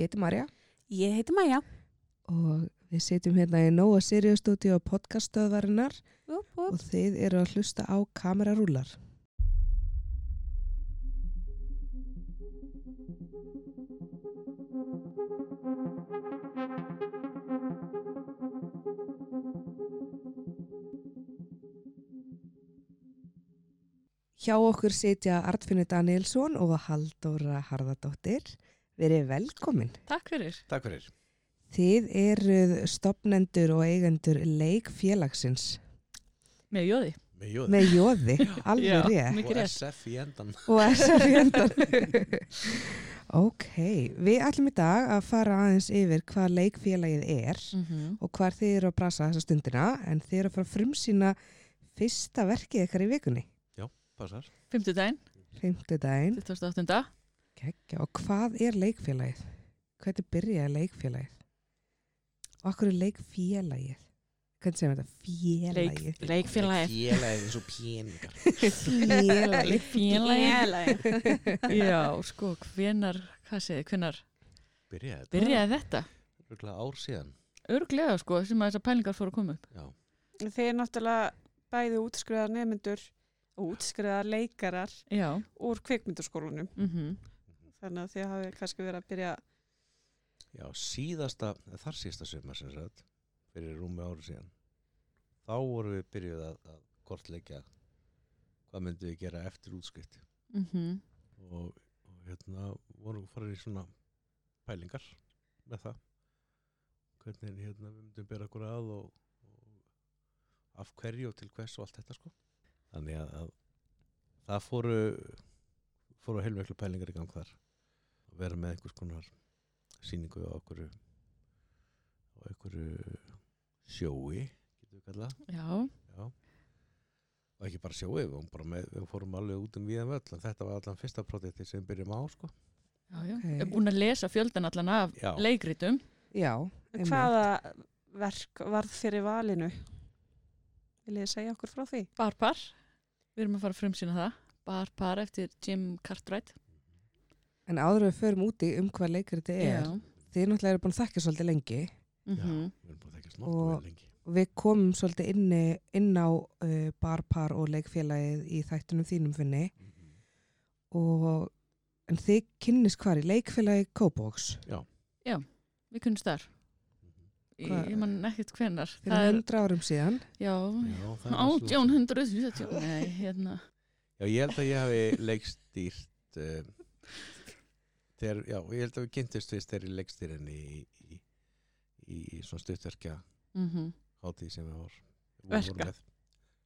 Ég heiti Marja Ég heiti Maja. og við sitjum hérna í Nóa Sirius stúdíu á podcaststöðvarinnar Upp, og upp. þið eru að hlusta á kamerarúlar. Hjá okkur sitja Artfinni Danielsson og Halldóra Harðardóttir. Verið velkomin. Takk fyrir. Takk fyrir. Þið eruð stopnendur og eigendur leikfélagsins Með jóði. Með jóði. með jóði, alveg rétt, og Mikið rétt. SF í endan. og SF í endan. ok, við ætlum í dag að fara aðeins yfir hvað leikfélagið er Mhm. og hvar þið eru að brasa þessa stundina en þið eru að fara að frumsýna fyrsta verkið ykkar í vikunni, Passar. Fymtudaginn, 5. daginn. 28. Kekja, og hvað er leikfélagið? Hvernig byrjaði leikfélagið? Og akkur er leikfélagið? Hvernig segir þetta? Leik, Félagið. leikfélagið. Félagið eins og píningar. Félagið. Leikfélagið. Já, sko, hvenar, hvað segir, hvenar Byrjaði þetta. byrjaði þetta? Örugglega ár síðan. Örglega, sko, sem að þessar pælingar fóru að koma upp. Já. Þeir eru náttúrulega bæði útskriðar nefnendur og útskriðar leikarar Já. úr kvikmyndaskólanum. Mm Þannig að þið hafi kannski verið að byrja Já, síðasta, þar síðasta sömur sem sagt, fyrir rúmi ári síðan. Þá vorum við byrjuð að, að kortleggja hvað myndum við gera eftir útskrift. Mhm. Og, og hérna vorum við farin í svona pælingar með það. Hvernig hérna við myndum byrja okkur að og, og af hverju og til hvers og allt þetta sko. Þannig að, að það fóru, fóru heilmiklu pælingar í gang þar. Að vera með einhvers konar síningu á einhverju á einhverju sjói getur við kallað Já. já. og ekki bara sjói við, vorum bara með, við fórum alveg út um viðan völl en þetta var allan fyrsta projekti sem við byrjum á sko. Já, já. Ok. Ég er búin að lesa fjöldan allan af já, leikritum. Já, en hvaða verk varð fyrir valinu. Vil ég segja okkur frá því? Barpar. Við erum að fara að frumsýna það. Barpar eftir Jim Cartwright. En áður en við förum úti um hvað leikur þetta er, Já. þið náttúrulega eru búin að þekka svolítið lengi Mm -hmm. við erum búin að þekkast nokkuð Og- vel lengi og við komum svolítið inni, inn á uh, barpar og leikfélagið í þættunum þínum finni og en þið kynnist hvar í leikfélagið Kópóks Við kunnum þar. Ég, Hvað- ég man ekkert hvenar. fyrir hundra árum síðan. já, já, það er rosalega- 1870 Nei, hérna já, ég held að ég hafi leikstýrt um, þegar, já, ég held að við kynntist fyrst þegar ég leikstýrin í, í, í, í svona stuttverkja mm hátíð sem við vorum við Verka. vorum með.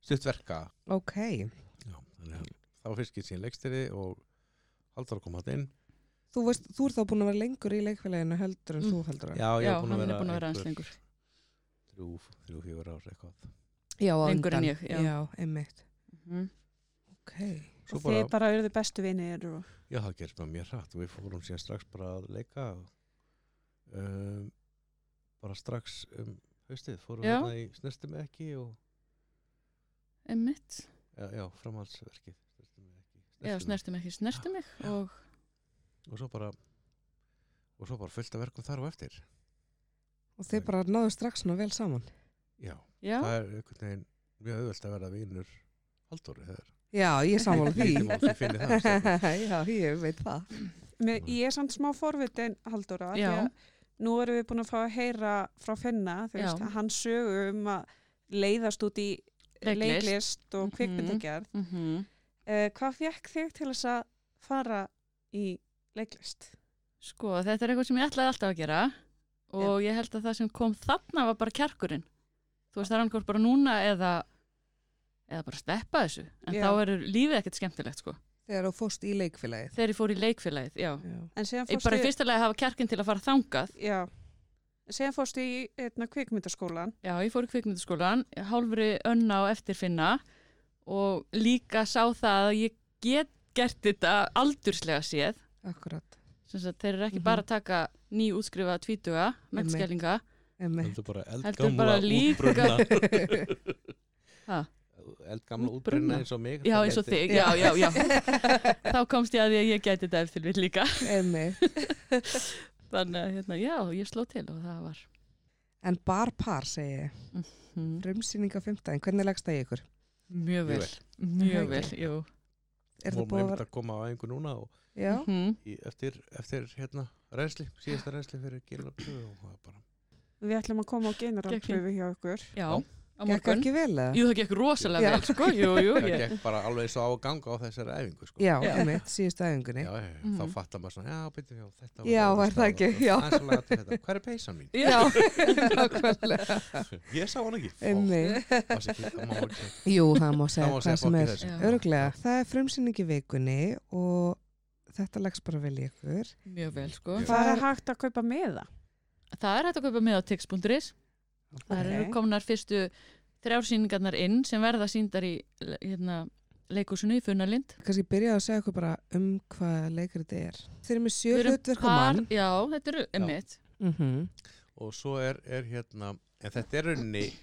stuttverka Ok, Já, þannig að þá fyrst get síðan leikstýri og haldur að koma hann inn. þú, veist, þú ert þá búin að vera lengur í leikfélaginu heldur en Mm. þú heldur að. Já, ég Já, er búin að hann vera, er búin að vera aðeins einhver lengur Þrjú, þrjú, fjögur ár eitthvað. Já, á Lengur en undan. ég, já. Já, einmitt. Mhm. Ok, Svo og bara, þið bara eruðu bestu vinir og já, það gerst bara mjög hratt. Við fórum síðan strax bara að leika um, bara strax um haustið. Fórum Já. hérna í snertum ekki og Einmitt, já, já framhaldsverkið. Snertum ekki. já, snertum ekki, snertum mig Já. og Og svo bara og svo bara fullt af verkum þar og eftir. og þið bara náðu strax svona vel saman. Já, já, það er einhvern veginn mjög auðvelt að vera vinur Halldóri þegar. Já, ég er sammála því. Lítið mál sem finnir það. stelpur. Já, ég veit það. Mér, ég er samt smá forvitin Halldóra af því Já. að nú erum við búin að fá að heyra frá Finna Já. þegar hann sögu um að leiðast út í Leiklist. leiklist og Mhm. kvikmyndagerð mhm. Uh, hvað fekk þig til þess að fara í leiklist? Sko, þetta er eitthvað sem ég ætlaði alltaf að gera og ég held að það sem kom þarna var bara kjarkurinn Þú veist, það er annað hvort bara núna eða eða bara sleppa þessu en Já. þá er lífið ekkert skemmtilegt, sko Þegar þú fóst í leikfélagið. Þegar ég fór í leikfélagið, já Já. En síðan Ég fórstu, bara í fyrsta lagi að hafa kjarkinn til að fara þangað já, En síðan fórstu í eitna, kvikmyndaskólan. Já, ég fór í kvikmyndaskólan, hálfri önna og eftirfinna og líka sá það að ég get gert þetta aldurslega séð Akkurat, sem sagt þeir eru ekki Mhm. bara að taka ný útskrifa tvítuga, mennskellinga emmi. Heldur bara heldur eldgamla bara líka útbrunna ha, eldgamla Útbrunna. útbrunna eins og mig Já, eins og þig, já, já, já Þá komst ég að því að ég geti þetta ef til við líka emmi. Þannig að hérna, já, ég sló til og það var En bar par, segi ég. Mhm. hm, Frumsýninga 15. Hvernig leggst það í ykkur? mjög vel, Mjög mjög Ok. vel, jú. Er það Vorum búið að einmitt vera? að koma á einhver núna og Já. Mhm. í, eftir, eftir hérna reynsli, síðasta reynsli fyrir gilvöldpröfu og það er bara Við ætlum að koma á generalpröfu hjá okkur. Já, á Gekk morgun. ekki vel eða? Jú, það gekk rosalega Já. vel, sko, jú, jú, það ég. gekk bara alveg svo á að ganga á þessari æfingu sko. Já, Já. einmitt, síðustu æfingunni. Já, já, já, þá Mhm. fattar maður svona, já, byrju, já, þetta Já, var er það ekki? Já. Hvað er peysan mín? Já, nákvæmlega. Ég sá hann ekki. Ó, Einmitt. það sé ekki- það má ekki. Jú, það má Það segja má hvað segja sem fólki er. þessu. Já. Öruglega, það er frumsýning í vikunni og þetta leggst bara vel í ykkur. mjög vel, sko. Mjög. Það er hægt að kaupa miða. Það er hægt að kaupa með á tix.is. Það eru Ok. komnar fyrstu þrjársýningarnar inn sem verða síndar í hérna, leikúsinu í Funnalind. kannski byrja að segja okkur bara um hvað leikrið er. Þeir eru með sjö Við erum hlutverk og mann. Já, þetta eru emmitt. Mm Og svo er, er hérna, en þetta er rauninni,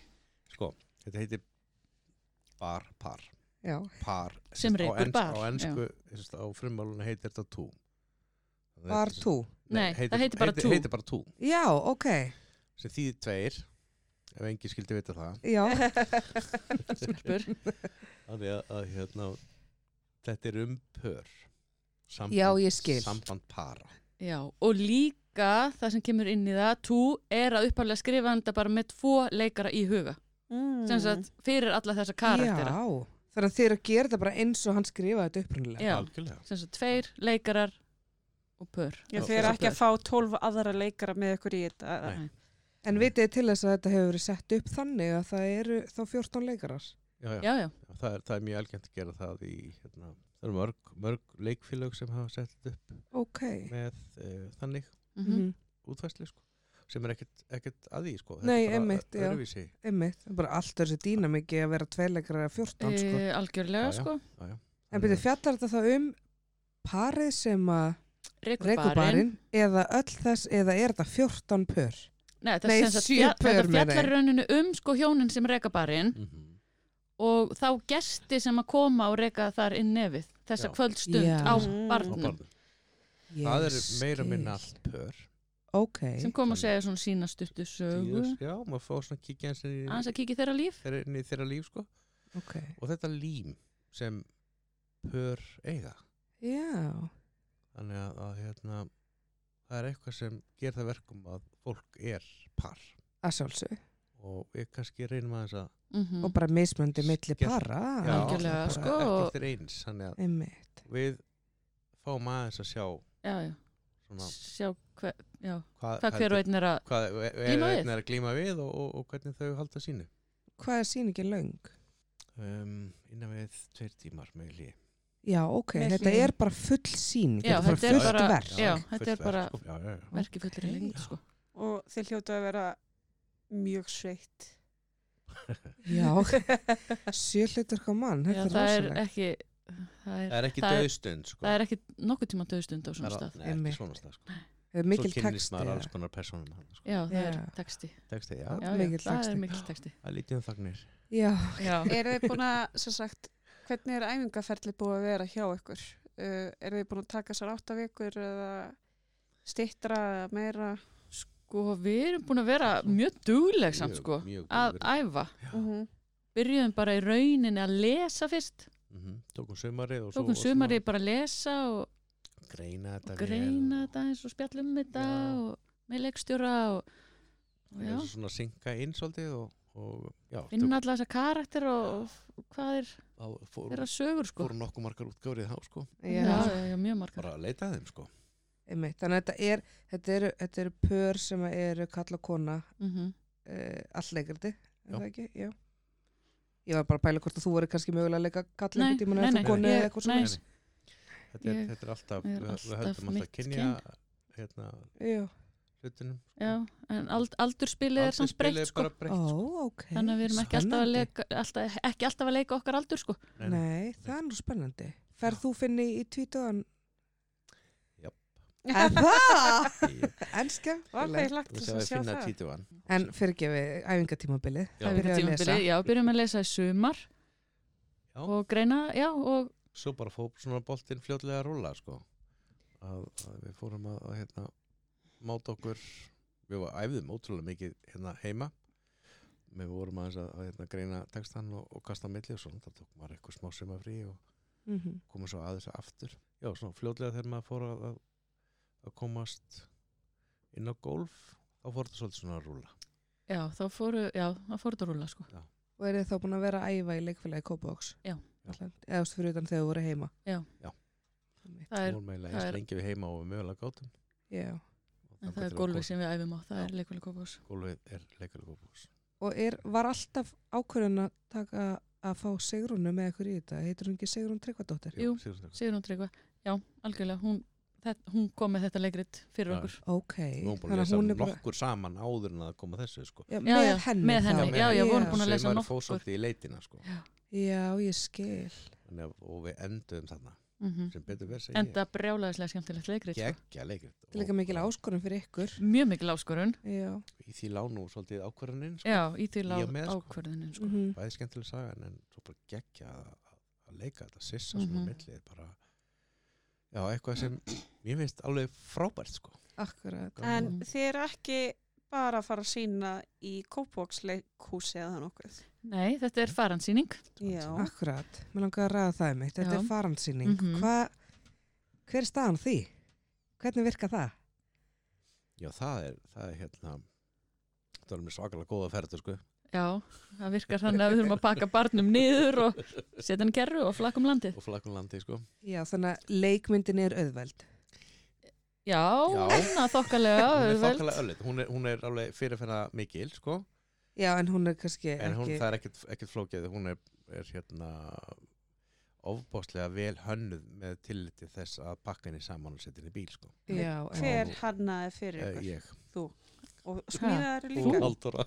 sko, þetta heitir bar, par, Já, par. Sem á rekur ens- bar, Á ennsku, þess að á frumálunni heitir þetta tú. Þannig að var þetta- tú. Nei, það heitir bara tú. Heitir bara tú, Já, ok. sem þýðir tveir, ef engi skildi vita það. Já, Stelpur. Þannig að, að hérna, þetta er um pör. Samband, Já, ég skil. Samband para. Já, og líka það sem kemur inn í það, tú er að upphaflega skrifa hann þetta bara með tvo leikara í huga. Mm. Sem sagt, fyrir alla þessa karaktera. já. Þannig að þeir eru að gera þetta bara eins og hann skrifaði þetta upprunnilega. Já. Algjörlega. Sem sagt, tveir leikarar og pör. Ég Já, fyrir það ekki er. að fá tólf aðra leikara með ykkur í þetta. Nei. En vitið þið til þess að þetta hefur verið sett upp þannig að það eru þá 14 leikarar. Já, já. Já, já. Það, er, það er mjög algjönd að gera það í, hérna, það eru mörg, mörg leikfélög sem hafa sett þetta upp Ok. með uh, þannig Mm Mm útfæsli sko, sem er ekkert, ekkert að því sko. Þetta Nei, er bara einmitt, já. öðruvísi. Einmitt. Það er bara allt þessi dýna mikið að vera tvei leikarar að 14, sko. E, algjörlega, Já, já. sko. En byrju, Þannig fjallar þetta þá um parið sem að Rekubarinn. reikubarinn eða öll þess, eða er þetta 14 pör? Nei, það Nei, er sem sagt, sjö fjall, pör, þetta meina ég. fjallar í rauninu um sko hjónin sem rekabarinn að- Mhm. og þá gesti sem að koma og reka þar inn nefið þessa Já. kvöldstund Já. á Mm. Á barnum barnum. Það er meira og minna allt pör. Ok, sem kom að segja svona sína stuttu sögu Tíðus, Já, maður fá svona kíkja eins inn aðeins í- að kíkja í þeirra líf þeirra- inn í þeirra líf sko. ok. Og þetta lím sem pör eiga. Já, Þannig að, að hérna, það er eitthvað sem ger það verkum að fólk er par. að sjálfsög. Og við kannski reynum aðeins að Mhm. Og bara mismöndi milli Skell- para. Já, Algjörlega, bara sko. Ekki eftir eins, þannig að Einmitt. við fáum aðeins að sjá já, já. svona sjá hver, já. hvað, hvað hver og einn er að hvað e- er, er, Glíma við. er að glíma við og, og, og hvernig þau halda sínu. Hvað er sýningin löng? Um, innan við tveir tímar með lí. Já, ok, Með þetta hlýjum. er bara full sýning, Já, þetta er þetta er bara fullt bara- verð. já, þetta er bara- Já, já, já. verki fullir Ok. í lengt sko. Og þeir hljótu að vera mjög sveitt. Já, sjölutur hvað mann, já, þetta er það er rosalega. ekki það er, Það er ekki það er- döðstund, sko. það er ekki nokkuð tíma döðstund á svona Það er- stað Nei, ekki Einmitt. svona stað, sko. Það er mikil Svo kynnist texti. maður eða? alls konar personum hann, sko. já, það Já. er texti Texti, já. já, já, Mikill það texti. er mikill texti Það er lítið um þagnir. Já, já, Er þið búin að, sem sagt, hvernig er æfingaferli búið að vera hjá ykkur? Uh, er þið búin að taka sér átta vikur eða stittra eða meira? sko, við erum búin að vera mjög dugleg samt Mjög- sko, mjög að góður. æfa Mm -hmm. byrjuðum bara í rauninni að lesa fyrst Mhm. Tókum sumarið og svo... tókum og um svona sumarið bara að lesa og, Greina þetta. og greina þetta eins og spjallum þetta Já. og með leikstjóra og, og Já. já, Svona synka inn svolítið og... og já, finna alla þessa karakter og, og hvað er þá fór, þeirra sögur sko fóru nokkuð margar útgárið þá, sko. já, já. já, já, mjög margar Bara að leita að þeim, sko. Einmitt. Þannig að þetta, er, þetta, eru, þetta eru pör sem eru kalla og kona mm uh, allleikriti, er Já. það ekki? Já. Ég var bara að pæla hvort að þú voru kannski mögulega að leika kall Nei, einhvern tímann nei, eða þú nei. konu Ég- eða eitthvað svona. nei. Eins. Þetta er, Ég þetta er alltaf, er við, við alltaf höldum alltaf mitt kynja hérna, Já. hlutunum. já, en ald, aldurspilið er samt breytt Aldursbilið er sko bara breytt, Ó, sko. ok. þannig að við erum ekki alltaf að, Spennandi. leika, alltaf, ekki alltaf að leika okkar aldur sko Nei, nei. Nei, það er nú spennandi. Ferð þú finni í tvítuðan? Japp. Er það? Ég- En Var skemmtileg. það lagt Þú til séu að að sjá finna það? títuvan. En fyrirgefið æfingatímabilið. Já. Það byrjaði að lesa. Tímabilið, já, byrjum að lesa í sumar Já. og greina, já, og Svo bara fór svona boltinn fljótlega að rúla, sko. Að, að við fórum að, að hérna, máta okkur við var, æfðum ótrúlega mikið hérna heima við vorum aðeins að, að hérna, greina textan og, og kasta á milli og svona, það tók maður eitthvað smá sumafrí og Mm Mhm. -hmm. komum svo aðeins aftur já, svona fljótlega þegar maður fór að, að- að komast inn á golf þá fór þetta svolítið svona að rúla Já, þá fóru, já, þá fóru þetta að rúla, sko. Og er þið þá búin að vera að æfa í leikfélagi Kópavóks? Já. Allan, eða þú veist, fyrir utan þegar þú voru heima? Já. Já. Einmitt. Það við er, vorum eiginlega það eins er- lengi við heima og við mögulega gátum Já. Og en þangað það til er að gólfið golf- sem við æfum á, það Já. er leikvölu kókós. gólfið er leikalega góðbús Og er, var alltaf ákvörðun að taka að fá Sigrúnu með ykkur í þetta? Heitir hún ekki Sigrún Tryggvadóttir? Jú. Sigrun Tryggva, já, algjörlega, hún, það, hún kom með þetta leikrit fyrir Já. okkur. Ok. við vorum búin að Þannig lesa um hún er nokkur saman áður en að koma þessu sko. Já, Já, með já, henni. með þá. henni, já, já, já. vorum búin að lesa sem er nokkur. fórsótti í leitina sko. Já, ég skil. Þannig að- og við enduðum þarna Mm sem betur verð segi Enda brjálaðislega skemmtilegt leikrit. sko. geggja leikrit Þetta er líka mikil áskorun fyrir ykkur. Mjög mikil áskorun, Já. í því lánu svolítið ákvarðaninn sko. já, í því Í og lág með, sko. ákvörðunin, sko. Mm -hmm. bæði skemmtileg saga en- en svo bara geggja að, að- að leika þetta sissa svona Mhm. mm millið bara já, eitthvað sem mér finnst alveg frábært sko Akkurat. Gaman. En Mhm. þið eru ekki bara að fara að sína í Kópavogs leikhúsi eða nokkuð. Nei, þetta er faransýning. Já. Akkurat. Mér langar að ræða það mitt. Þetta Já. er farandsýning. Mhm. Hva, hver er staðan á því? Hvernig virka það? já, það er, það er hérna það er mér svakalega góða ferður sko Já, það virkar þannig að við þurfum að pakka barnum niður og setja hann í kerru og flakka um landið. og flakum landi sko Já, þannig að leikmyndin er auðveld. Já, Já. annað þokkalega, hún er auðveld. þokkalega öllið, hún er, hún er alveg fyrirferða mikil sko Já, en hún er kannski en hún, ekki... það er ekkert, ekkert flókið hún er, er hérna ofbáslega vel hönnuð með tilliti þess að pakka henni saman og setja henni í bíl sko Já, en... Hver hannaði fyrir Eh, ykkur? ég Og smíðaðar og líka? Halldóra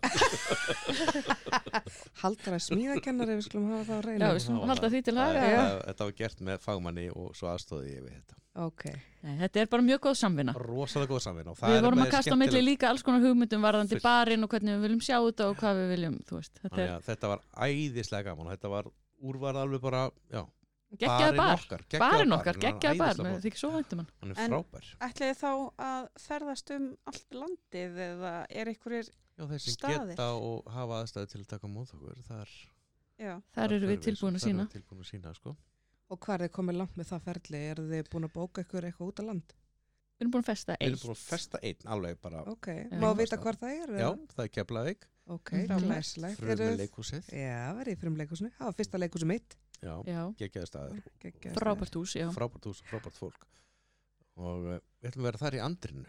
Haldur að smíðakennari, við skulum hafa það á Já, reyna. við svona halda því til Það haga. er- já. það- Þetta var gert með fagmanni og svo aðstóði ég við þetta. Ok. Nei, þetta er bara mjög góð samvinna. Rosalega góð samvinna. og það Við er vorum með að kasta á skemmtilegt- milli líka alls konar hugmyndum varðandi Fullt. barinn og hvernig við viljum sjá þetta og hvað við viljum, þú veist. Þetta Þannig er að Þetta var æðislega gaman og þetta var úrvarð alveg bara, já, geggjaði bar. okkar. Barinn okkar, geggjaði bar, Hann með er æðislega því ekki svo væntum hann. góð. Hann er En- frábær. Ætliði þá að ferðast um allt landið eða er einhverjir, Já, þeir sem Staðir. geta og hafa aðstæði til að taka á mót okkur, þar, já, Þar eru við tilbúin að sína. Þar eru við tilbúin að sína, sko. Og hvað er þið komið langt með það ferli? Er þið búin að bóka ykkur eitthvað út á land? Við erum búin að festa Við erum búin eitt. að festa einn, alveg bara, Ok. Má Já. vita hvað það er? já, eða? það er Keflavík, Ok, Mhm. glæslegt. frumið leikhúsið, Já, verið í frumleikusinu. Það var fyrsta leikusinu mitt. já, Já, geggjaði staður, Geggjað. frábært hús, já. frábært hús, frábært fólk. Og eh, við ætlum að vera þar í andrinu.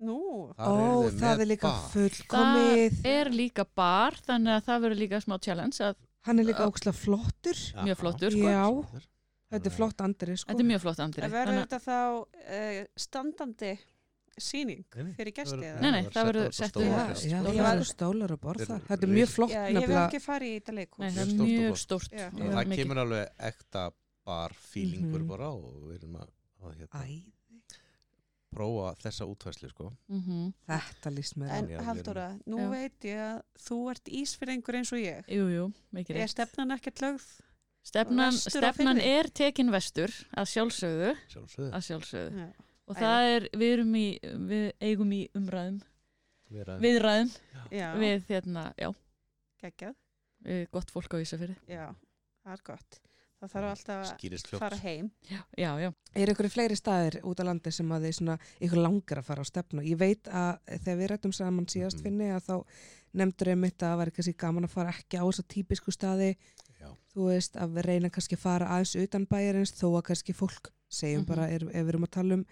nú, Þar eru Ó, þeir það með er líka bar. fullkomið. Er líka bar, þannig að það verður líka smá challenge að Hann er líka ókslega flottur. mjög Já. flottur, sko. Já. Flottur. Þetta er flott andri, sko. þetta er mjög flott andri. en verður Þannig þetta þá uh, standandi síning Nei, nei. fyrir gesti? verður- eða? Nei, nei, það sett verður á þetta sett stóra Já, upp. borð. já, Stólar. það eru stólar og borða. Þetta er Þetta er mjög risa. flott Já, ég hef nefnilega. ekki farið í þetta að- Nei, leikhús. það er Mjög stórt mjög og stórt. Já. Og það mikið. kemur alveg ekta bar feelingur Mhm. bara og við erum að, að hérna, Æ, prófa þessa útvæslu sko. Mhm. þetta líst mér á. En Já, við erum- Halldóra, nú Já. veit ég að þú ert ísfyrringur eins og ég. Jú, jú, mikið Er rétt. stefnan ekkert lögð? Stefnan, vestur á stefnan firði? er tekin vestur að sjálfsögðu, sjálfsögðu að sjálfsögðu. Já. Og það er, við erum í, við eigum í umræðum, Vera- viðræðum Já, við hérna, já, geggjað. við gott fólk á Ísafirði. Já, það er gott. Það þarf Mm, alltaf skýrist að fljótt fara heim. Já, já, já. Er ykkur fleiri staðir út á landi sem að þið svona ykkur langar að fara á stefnu? Ég veit að þegar við rættum saman síðast Mhm. finni að þá nefndur ég mitt að það væri kannski gaman að fara ekki á þess að típisku staði. Já. Þú veist að við reyna kannski að fara aðeins utan bæjarins þó að kannski fólk segjum Mhm. bara er, ef við erum að tala um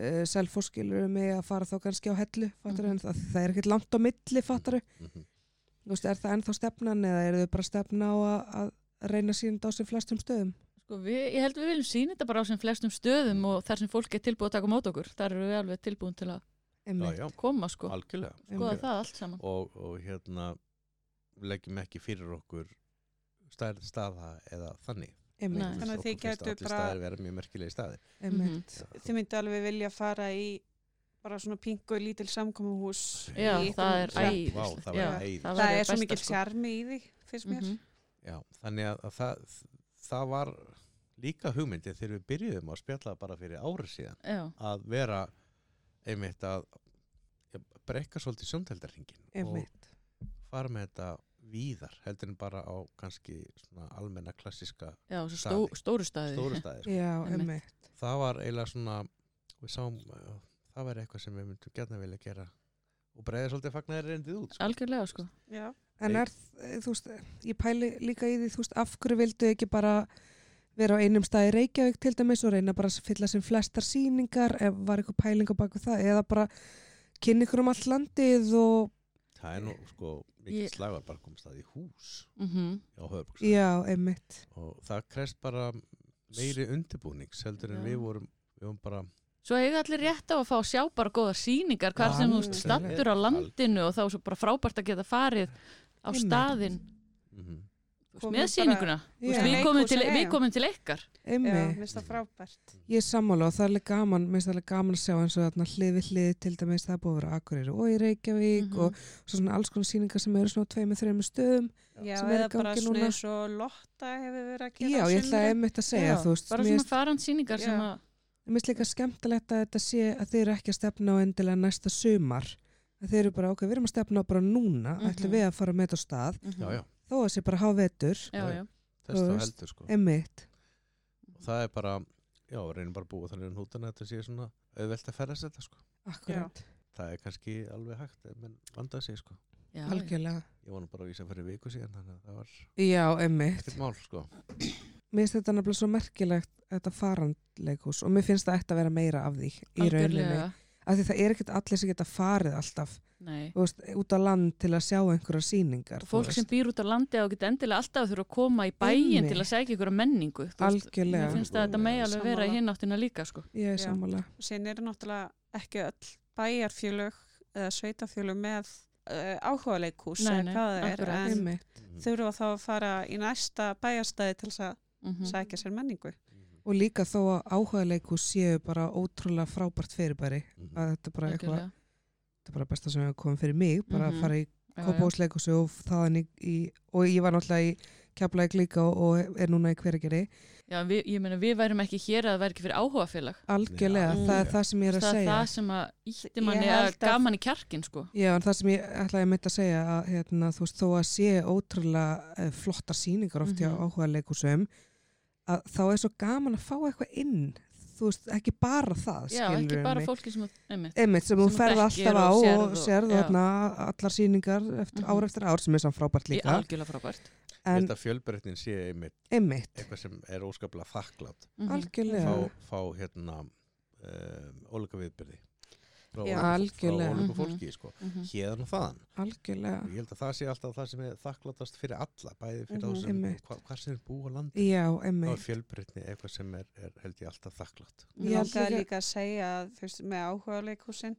uh, selfórskilur með að fara þá kannski á hellu, fattar Mhm. en það, það er ekkert langt á milli, fattar Mhm. Þú veist, er það ennþá stefnan eða eru þau bara að stefna á að, að reyna síðan á sem flestum stöðum? Sko, við, ég held við viljum sína þetta bara á sem flestum stöðum og þar sem fólk er tilbúið að taka á mót okkur, þar eru við alveg tilbúin til að Já, Einmitt. já, koma, sko. algjörlega Skoða Algjörlega. það allt saman. og, og hérna leggjum ekki fyrir okkur stærð staða eða þannig Einmitt, Nei. Þannig að þið gætu bara bara- staðir vera mjög merkilegi staðir einmitt. Mhm. Þið myndu alveg vilja fara í bara svona pingu lítil samkomuhús. Já, í það er einhverjum- Já. Vá, æðislegt. það væri Já, æðislegt. það Það væri er svo besta, mikil sko. sjarmi í því, finnst mér. Mhm. Já, þannig að, að það, það var líka hugmyndið þegar við byrjuðum að spjalla bara fyrir ári síðan Já, að vera einmitt að brekka svolítið sjóndeldarhingin og einmitt. fara með þetta víðar heldur en bara á kannski svona almenna klassiska Já, svo stó, Staði. stóru staði. stóru staðir. Já, Einmitt. einmitt. Það var eiginlega svona, við sáum, uh, það var eitthvað sem við myndum gætna vilja gera og breiða svolítið fagnæri reyndið út. Sko. Algjörlega, sko. já, En Nei. er, eh, þú veist, ég pæli líka í því, þú veist, af hverju vildu ekki bara vera á einum stað í Reykjavík til dæmis og reyna bara að fylla sem flestar sýningar, ef var eitthvað pælinga baku það, eða bara kynni ykkur um allt landið og, Það er nú sko mikið Ég- slagar bara komst það í hús Mm á höfbruks já, einmitt. og það krest bara meiri undirbúnings heldur en Já. við vorum, við vorum bara Svo eiga allir rétt á að fá að sjá bara góða sýningar, hvar sem þú Algjörlega. stattur á landinu og þá er svo bara frábært að geta farið á Einmitt. staðin mm Mhm. þú veist, Komum með bara- sýninguna. Þú veist, Já, Við komum til, Leikhúsið, við já. komum til ykkar. já, einmitt. minnst það frábært Ég er sammála og það er alveg gaman, minnst það er alveg gaman að sjá eins og þarna hlið við hlið til dæmis það er búið að vera á Akureyri og í Reykjavík Mhm. og svo svona alls konar sýningar sem eru svona á tveimur, þreimur stöðum. já, Sem er í eða bara gangi svona núna. eins og Lotta hefur verið að gera Já, á ég ætlaði sumrin. einmitt að segja, Já, þú veist, Bara mér svona farand sýningar Já. sem að Mér finnst líka skemmtilegt að þetta sé að þeir eru ekki að stefna á endilega næsta sumar. Að þeir eru bara, ok, við erum að stefna á bara núna, Mhm. ætlum við að fara með þetta á stað, Já, já, þó að sé bara hafa vetur, já, já. Þú þess þá veist. heldur sko emitt. og það er bara, já, við reynum bara að búa þannig um hútana að þetta sé svona auðvelt að ferðast þetta sko Akkurat, það er kannski alveg hægt ef menn vandað sig sko já, já. algjörlega. ég var nú bara að vísa fyrir viku síðan þannig að það var Já, emitt. ekkert mál sko Mér finnst þetta nefnilega svo merkilegt, þetta farandleikhús og mér finnst það eftir að vera meira af því í rauninni. Algjörlega. Af því það er ekkert allir sem geta farið alltaf, Nei. þú veist, út á land til að sjá einhverja sýningar. þú Fólk veist. sem býr út á landi og geta endilega alltaf þurfa að koma í bæin Einmitt. til að segja ykkur að menningu. þú veist. Algjörlega. Mér finnst að þetta megi alveg vera í Sammála. hináttina líka, sko. Ég er Já. sammála. og síðan eru náttúrulega ekki öll bæjarfjölög eða sveitafjölög með uh, áhugaleikhús Nei, eða nei, hvað það er, akkurat. en Emitt. Mhm. þurfa þá að fara í næsta bæjarstæði til þess að Mm sækja sér menningu Mhm. Og líka þó að áhugaleikus séu bara ótrúlega frábært fyrirbæri Mhm. að þetta er bara eitthvað, þetta er bara besta sem hefur komið fyrir mig, bara Mhm. að fara í kópásleikus og þaðan í, í, og ég var náttúrulega í kjaflaðið líka og, og er núna í hveragerði. Já, við, ég meina, við værum ekki hér að það væri ekki fyrir áhugafélag. Algjörlega, Já. það er það sem ég er að það er segja. það sem að ítti Ég manni að held að- gaman í kjarkin, sko. Já, en það sem ég ætlaði að mynda að segja að hérna, þú veist, þó að sé ótrúlega eh, flottar sýningar oft hjá Mhm. áhuga leikusum að þá er svo gaman að fá eitthvað inn þú veist, ekki bara það Já, ekki skilurðu bara mig. fólki sem að, einmitt. einmitt sem Sem þú þú ferð þekkir alltaf á og og sérð og- sérðu já. þarna allar sýningar eftir, Mhm. ár eftir ár sem er samt frábært Í líka algjörlega frábært. Ég en held að fjölbreytnin sé einmitt einmitt, eitthvað sem er óskaplega þakklátt Mm algjörlega fá, fá hérna um, óleika viðbyrði frá Já, ólíku- algjörlega. Ah. frá óleika Mhm. fólki sko hérðan og þaðan algjörlega og ég held að það sé alltaf það sem er þakklátast fyrir alla bæði fyrir Mhm. þá sem Einmitt. hva, hvað sem er búið á landi já, þá er einmitt fjölbreytni eitthvað sem er, er held ég alltaf þakklátt Ég Mér held langaði líka- líka að segja að þú veist, með áhugaleikhúsin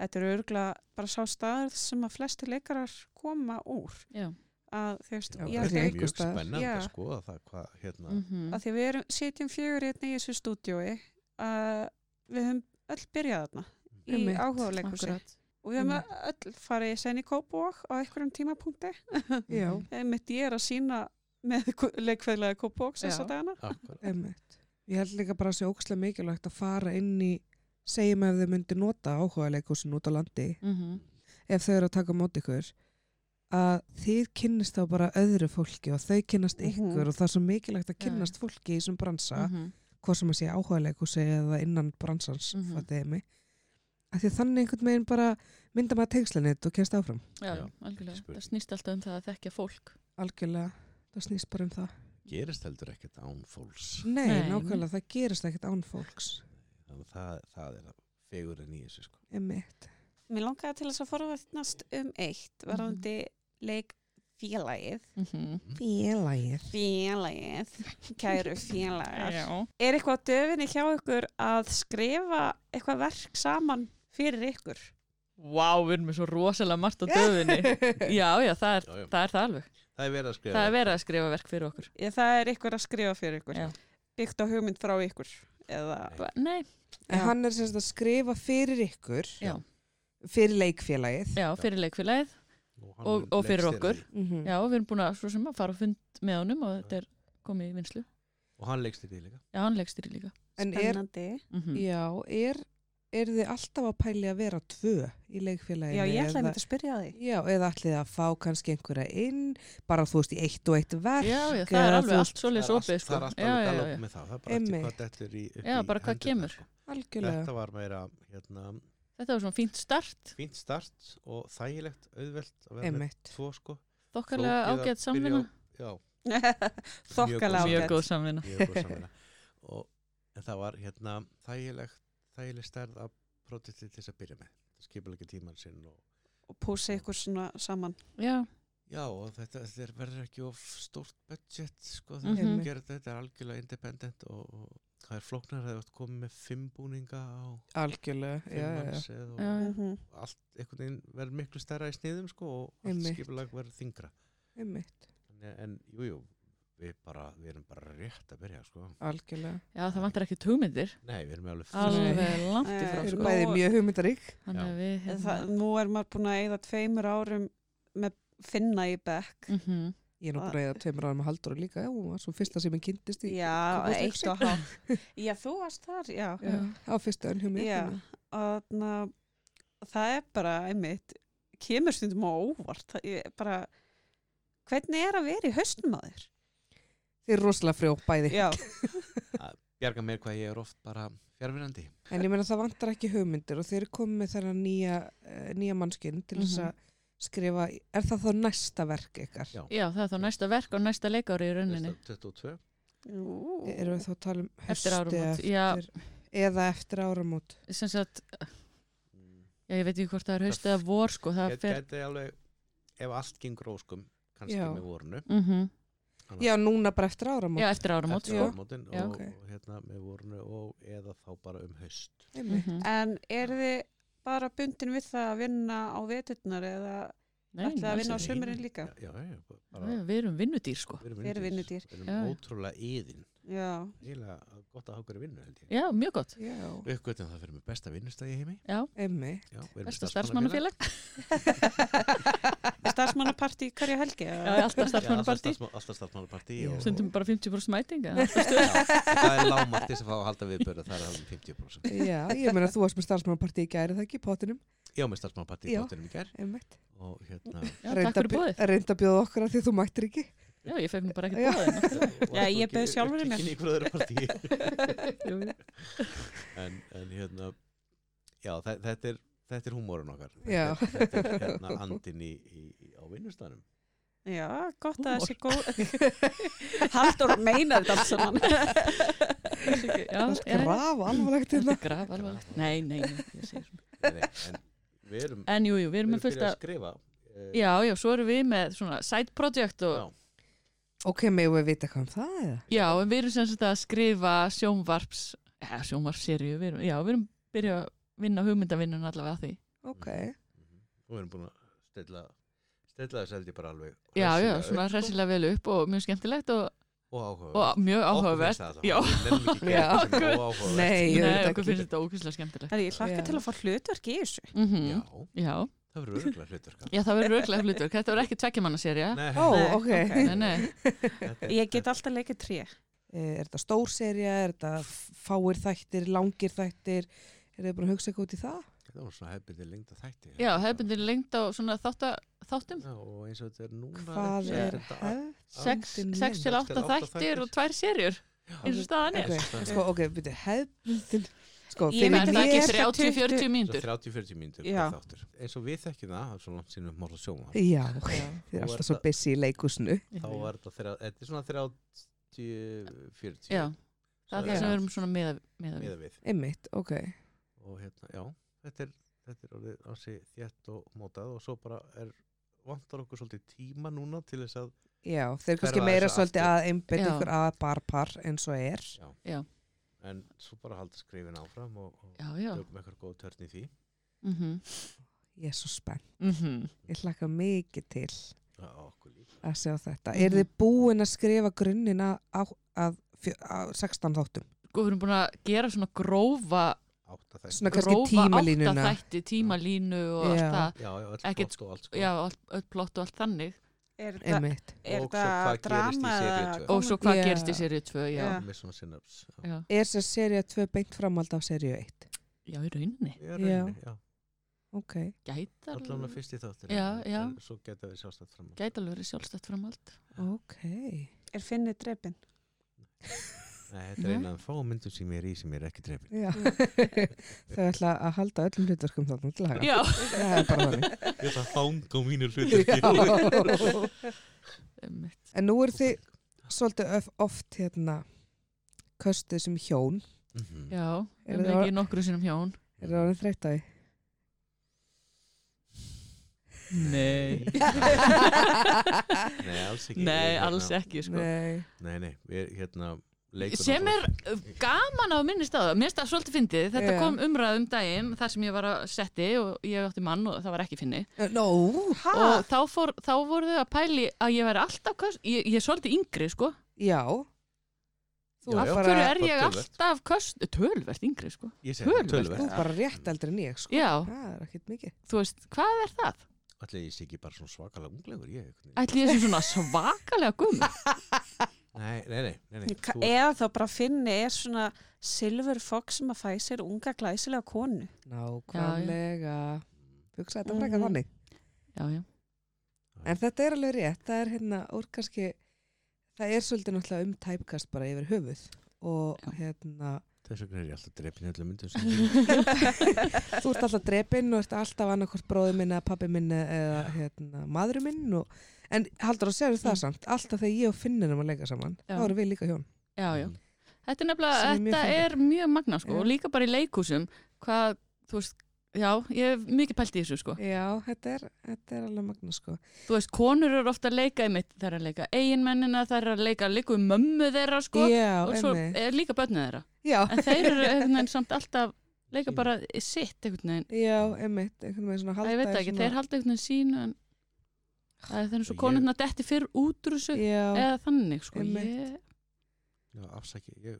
þetta eru örgla bara sá staður sem að flesti leikarar koma úr Já. að þú veist, Já, ég held það byrja er að, einhvers mjög staðar. spennandi Já. að skoða það hvað hérna Mhm. að því við erum sitjum fjögur hérna í þessu stúdiói að við höfum öll byrjað þarna í Einmitt. áhugaleikhúsi Akkurat. og við höfum öll farið sen í Kópavog á einhverjum tímapunkti já, Mhm. mitt ég er að sína með leikfæðlega Kópavog sem Já. svo dagana akkúrat. einmitt ég held líka bara að sé ókslega mikilvægt að fara inn í segjum ef þau myndi nota áhuga leikusin út á landi Mhm. ef þau eru að taka á móti ykkur að þið kynnist þá bara öðru fólki og þau kynnast Mhm. ykkur og það er svo mikilvægt að Já, já. kynnast fólki í þessum bransa Mhm. hvað sem að sé áhugaleikhúsi eða innan bransans mm Mhm. mig að því að þannig einhvern veginn bara mynda maður tengslanit og kemst áfram Já, Já, algjörlega. ekki spurning. Það snýst alltaf um það að þekkja fólk. algjörlega, það snýst bara um það gerist heldur ekkert án fólks nei, Nei. nákvæmlega, það gerist ekkert án fólks þannig að það, það er fegurinn í þessu sko. emitt, Mér langaði til þess að forvætnast um eitt varðandi Mhm. leikfélagið. Mhm. félagið Félagið, kæru félagar. Er eitthvað á döfinni hjá ykkur að skrifa eitthvað verk saman fyrir ykkur? Vá, við erum með svo rosalega margt á döfinni. já, já, það er Já, já. það, er það alveg. það er verið að skrifa Það er verið að skrifa verk fyrir okkur. sko. Ég, það er ykkur að skrifa fyrir ykkur. Já. Byggt á hugmynd frá ykkur. Eða, Ba- Nei, en Já. hann er semst að skrifa fyrir ykkur Já. fyrir leikfélagið já, fyrir leikfélagið. Mm. hann og- og fyrir leikstýrir okkur. því. Mhm. Já, við erum búin að, svo sem að fara á fund með honum og þetta er komið í vinslu. og hann leikst í því líka Já, hann leggst þér líka. en er, spennandi. Mm já, er eru þið alltaf að pæli að vera tvö í leikfélaginu? Já, ég ætlaði eða- mér að spyrja því. Já, eða ætlið þið að fá kannski einhverja inn, bara þú veist í eitt og eitt verk. já, já, það eða er alveg þú allt Það er svoleiðis allt- opið sko. Það er alltaf já, já, alveg galop já, með það Það er bara eftir Einmitt. hvað dettur í upp Já, í bara hvað hendurnar, kemur. sko. Algjörlega. Þetta var meira hérna, þetta var svona fínt start fínt start og þægilegt, auðvelt að vera með Einmitt. tvo sko þokkarlega Flókið að ágætt byrja samvinna á- Já, Þokkala mjög ágætt. góð samvinna mjög góð samvinna og en það var hérna þægilegt, þægileg stærð af prótiti til þess að byrja með skipulega tíman sinn og Og púsa ykkur svona saman. já, já og þetta, þetta er- verður ekki of stórt budget sko Mhm. þegar þú gerir þetta, þetta er algjörlega independent og, og það er flóknar að þú ert komið með fimm búninga á Algjörlega, fimm já, já, já. manns eða og Já, já. Mhm. allt einhvern veginn verður miklu stærra í sniðum sko og Einmitt. allt skipulega verður þingra Einmitt, en, en jú, jú, við bara við erum bara rétt að byrja sko algjörlega. já, það vantar ekki hugmyndir nei, við erum alveg alveg langt í frá Við erum sko. bæði mjög hugmyndarík. þannig að við En hérna, Það, nú er maður búin að eigða tveimur árum með finna í bekk. mhm. Ég er nú Það- bara eða tveimur ára með haldur og líka, já, hún var svo fyrsta sem ég kynntist í. Já, Kópavogsleik eitt og hálf. Já, þú varst þar, já. Já, á fyrsta önn hjá mér. Já. þannig. Og na, það er bara, einmitt, kemur stundum á óvart. Það, ég, bara, hvernig er að vera í haustum að þér? Þið er rosalega frjó bæði. Já, bjarga mér hvað ég er oft bara fjárvinandi En ég meina það vantar ekki hugmyndir og þeir eru komið með þennan nýja, uh, nýja mannskinn til þess Mhm. að skrifa, er það þá næsta verk ykkar? Já. já, það er þá næsta verk og næsta leikári í rauninni 22 Ú. Erum við þá að tala um eftir haustið árum já, eða eftir áramót? sem sagt, já, ég veit ekki hvort það er haust eða vor sko, það Gæ- fer gæti alveg, ef allt gengur óskum kannski Já. með vorinu mhm. Já, núna bara eftir áramót. já, eftir áramót eftir sko. áramótin og, Já. og, Ok. hérna með vorinu og eða þá bara um haust Einmitt. Mhm. En eru þið bara bundin við það að vinna á veturnar eða Nei, Ætlaði að alls vinna á ekki. sumar. sumrin líka? já, já, já, bara, Já, við erum vinnudýr sko við Við erum vinnudýr. við Já, erum já. ótrúlega yðin já, eiginlega gott að hafa hverju vinnu held ég já, mjög gott Já, við uppgötum það fyrir með besta vinnustæði heimi emmi. já, við erum besta starfsmannafélag. starfsmannafélag starfsmannapartí hverja helgi? já, eða? alltaf Já, alltaf starfsmannapartí starfsma- alltaf starfsmannapartí Já. og- stundum bara 50% mæting eða? Já, það er lágmart til þess að fá að halda viðbörða það er alveg 50% Já, ég meina þú varst með starfsmannapartí í gæri, það ekki, í pottinum, Já, með starfsmannapartí í Já. bóttinum í gær emmitt. og hérna já, takk fyrir bóðið Reynda að bjóða okkur að því að þú mættir ekki. já, ég fekk nú bara Já. ekkert bóðið Já, ég bauð sjálfri mér. Ekki nýkur öðru partí Jú, jú. en, en hérna Já, þe- þetta er, þetta er húmórun okkar Þetta Já. er- Þetta er hérna andin í, í, í, á vinnustanum Já, gott að Húmor. það sé góð. Haldur meinar þetta allt saman. já, Það já, er grafa alvarlegt hérna. þetta er graf alveg nei, nei, nei, ég segi svona Nei, nei, En við erum, en jú, jú, við erum við með fullt byrjuð að að skrifa eh, já, já, svo erum við með svona side project og Já. Ok, megum við vita hvað um það eða? já, en við erum sem sagt að skrifa sjónvarps já, sjónvarpsseríu, við erum já, við erum byrjað að vinna hugmyndavinnun allavega að því Ok, Mhm. og við erum búin að stilla stilla þess held ég bara alveg já, já, hressilega upp, svona sko, hressilega vel upp og mjög skemmtilegt og, og áhuga og mjög áhugavert já, Já. áhugavert nei, ég nei, veit okkur ekki. finnst þetta ókvæmstilega skemmtilegt Það er ég hlakka Já. til að fá hlutverk í þessu. mhm Já, já, það verður örgulega hlutverk já, það verður auðvitað hlutverk þetta verður ekki tvekkjumannaserja Nei, Ó, Nei, ok. ok. nei, nei, þetta er- Ég get alltaf leikið tré. Eh, Er þetta stór serja, er þetta f- fáir þættir, langir þættir? Er þið búin að hugsa eitthvað út í það? Þetta var svona hefbindi lengda þætti hérna. já, hefbundin lengt á svona þátta, þáttum Já, og eins og þetta er núna Hvað já, er þetta hefð? sex Hefðbundin sex til lengd. átta þættir og tvær serjur eins og staðan er Ok, Nei. sko, ok, byrju, hefðbundin. Sko, þið Ég það veit er vitið það ég ekki er... þrjá- 30-40 Svo mínútur 30-40 mínútur Já. per þáttur. eins og við þekkjum það, það er svona sínum morla sjóma Já, Já. þið er Nú er alltaf svo það- busy í leikusnu. þá er þetta þrjá- þetta er svona 30-40 já, það er það sem við erum svona meða, meða við miða við Einmitt, ok. og hérna, já, þetta er, þetta er orðið ansi þétt og mótað og svo bara er vantar okkur svolítið tíma núna til þess að Já, þeir eru kannski Hverfa meira þessu svolítið aftur. að einbetta Já. ykkur að barpar eins og er. en svo bara halda skrifin áfram og, og já, já tökum eitthvað góð törn í því mhm, Ég er svo spennt. mhm Ég hlakka mikið til Já, okkur líka að sjá þetta. Mhm. Er þið búin að skrifa grunnina á, að, fjö- að 16 þáttum? sko, við erum búin að gera svona grófa átta þess Svona kannski grófa tímalínuna. áttaþætti, tímalínu og Já. allt það já, já, allt Ekkert- gott og allt sko já, allt, allt plott og allt þannig Er það, Einmitt. er Og svo það hvað gerist í drama seríu eða tvö. og svo hvað Já. gerist í serið 2 já, Já. með svona synaps já. já. Er þess að serið 2 beint framhald af serið 1? já, í rauninni. Í rauninni, já. ok. Gætar, Allan að fyrst í þáttir. Já, já. En svo geta við sjálfstætt fram. gætar alveg verið sjálfstætt framhald. Ok. Er finnið drefin? Nei, þetta er Nei. eina af fá myndum sem ég er í sem ég er ekki trefin. Já. Þau ætla að halda öllum hlutverkum þarna til haga. Já, Það er bara þannig. Ég ætla að fanga á mínu hlutur. Já. einmitt. en nú er þið svolítið of- oft hérna köstuð sem hjón. Mhm. já, Er um það- ekki nokkru sinum hjón. Er það orðin þreytt á því? Nei. Nei, alls ekki. Nei, Ég, hérna, alls ekki, sko. Nei. Nei, nei, við hérna leikur sem er uh, gaman að minnist á það mér stað svolítið fyndið, þetta Já. kom umræðum daginn þar sem ég var að setti og ég átti mann og það var ekki finni No. Ah. og þá, fór, þá voru þau að pæli að ég væri alltaf köst, ég, ég er svolítið yngri sko Já. Þú Já, af já. bara, hverju er ég Bara töluvert. alltaf köst tölvert yngri sko, Ég segi það, Töluvert. þú tölvert. er bara rétt eldri en ég, sko. Mm. já, Það er ekkert mikið. þú veist, hvað er það? Ætli ég sé ekki bara svona svakalega unglegur ég. einhvern veginn. Ætli ég sem svona svakalega gumm Nei, nei, nei, nei, nei. Ka- þú- Eða þá bara finni er svona silver fox sem að fæ sér unga glæsilega konu. Nákvæmlega. Mm. Hugsa þetta Mhm. frækka þannig. já, já, En þetta er alveg rétt, það er hérna úr kannski, það er svolítið náttúrulega um tæpkast bara yfir höfuð og Já. hérna, Þess vegna er ég alltaf drefin í öllum myndum sem ég er í. þú ert alltaf drepinn og ert alltaf annarkvort bróði minn eða pappi minn eða hérna maðurinn minn og, en haldur að segja það samt, alltaf þegar ég og Finnur erum að leika saman, Mm. Já. þá erum við líka hjón. já, já þetta er Mm. Sem er nefnilega, mjög þetta fyndið. er mjög magna sko, Já. og líka bara í leikúsum hvað, þú veist, já, ég hef mikið pælt í þessu sko Já, þetta er, þetta er alveg magna sko. þú veist, konur eru ofta að leika einmitt, það er að leika eiginmennina, það er að leika líku mömmu þeirra, sko, Já, og svo einmitt. er líka börnu þeirra, Já, en þeir eru einhvern veginn samt alltaf, leika bara sitt einhvern veginn, já, emmitt, einhvern veginn svona Æ, halda ég veit er það ekki, svona- þeir halda einhvern veginn sínu en það er þannig svo Ég- konurna detti fyrr út úr þessu Já, eða þannig, sko, Einmitt. Já, afsæki, ég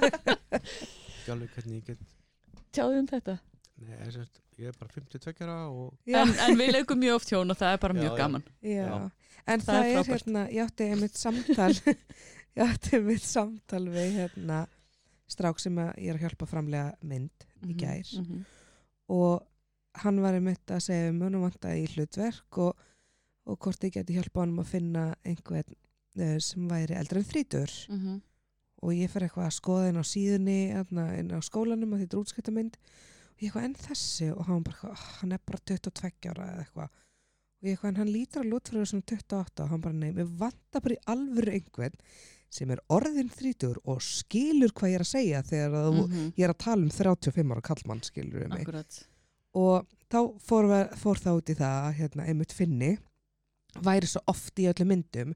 ekki alveg hvernig ég get ég tjáði um þetta Nei, ég, sérst, ég er bara 52 ára og já. en, en við leikum mjög oft hjón og það er bara Já, mjög já. gaman Já, Já. en Það það, er er, frábært. hérna, ég átti einmitt samtal, ég átti einmitt samtal við hérna strák sem að ég er að hjálpa framlega mynd í gær Mhm, og hann var einmitt að segja um honum vantaði í hlutverk og, og hvort ég geti hjálpa honum að finna einhvern eh, sem væri eldri en þrítur mhm, mhm. og ég fer eitthvað að skoða inn á síðunni hérna, inn á skólanum að þetta er útskiptamynd og ég eitthvað enn þessi og hann bara, eitthvað, "Ah, hann er bara 22 ára eða eitthvað og ég eitthvað en hann lítur að lútfröðu sem 28 og hann bara nei, við vantar bara í alvöru einhvern sem er orðin 30 og skilur hvað ég er að segja þegar að þú Mhm, ég er að tala um 35 ára kallmann skilur við mig akkúrat. og þá fór, við, fór það út í það að hérna, einmitt finni væri svo oft í öllum myndum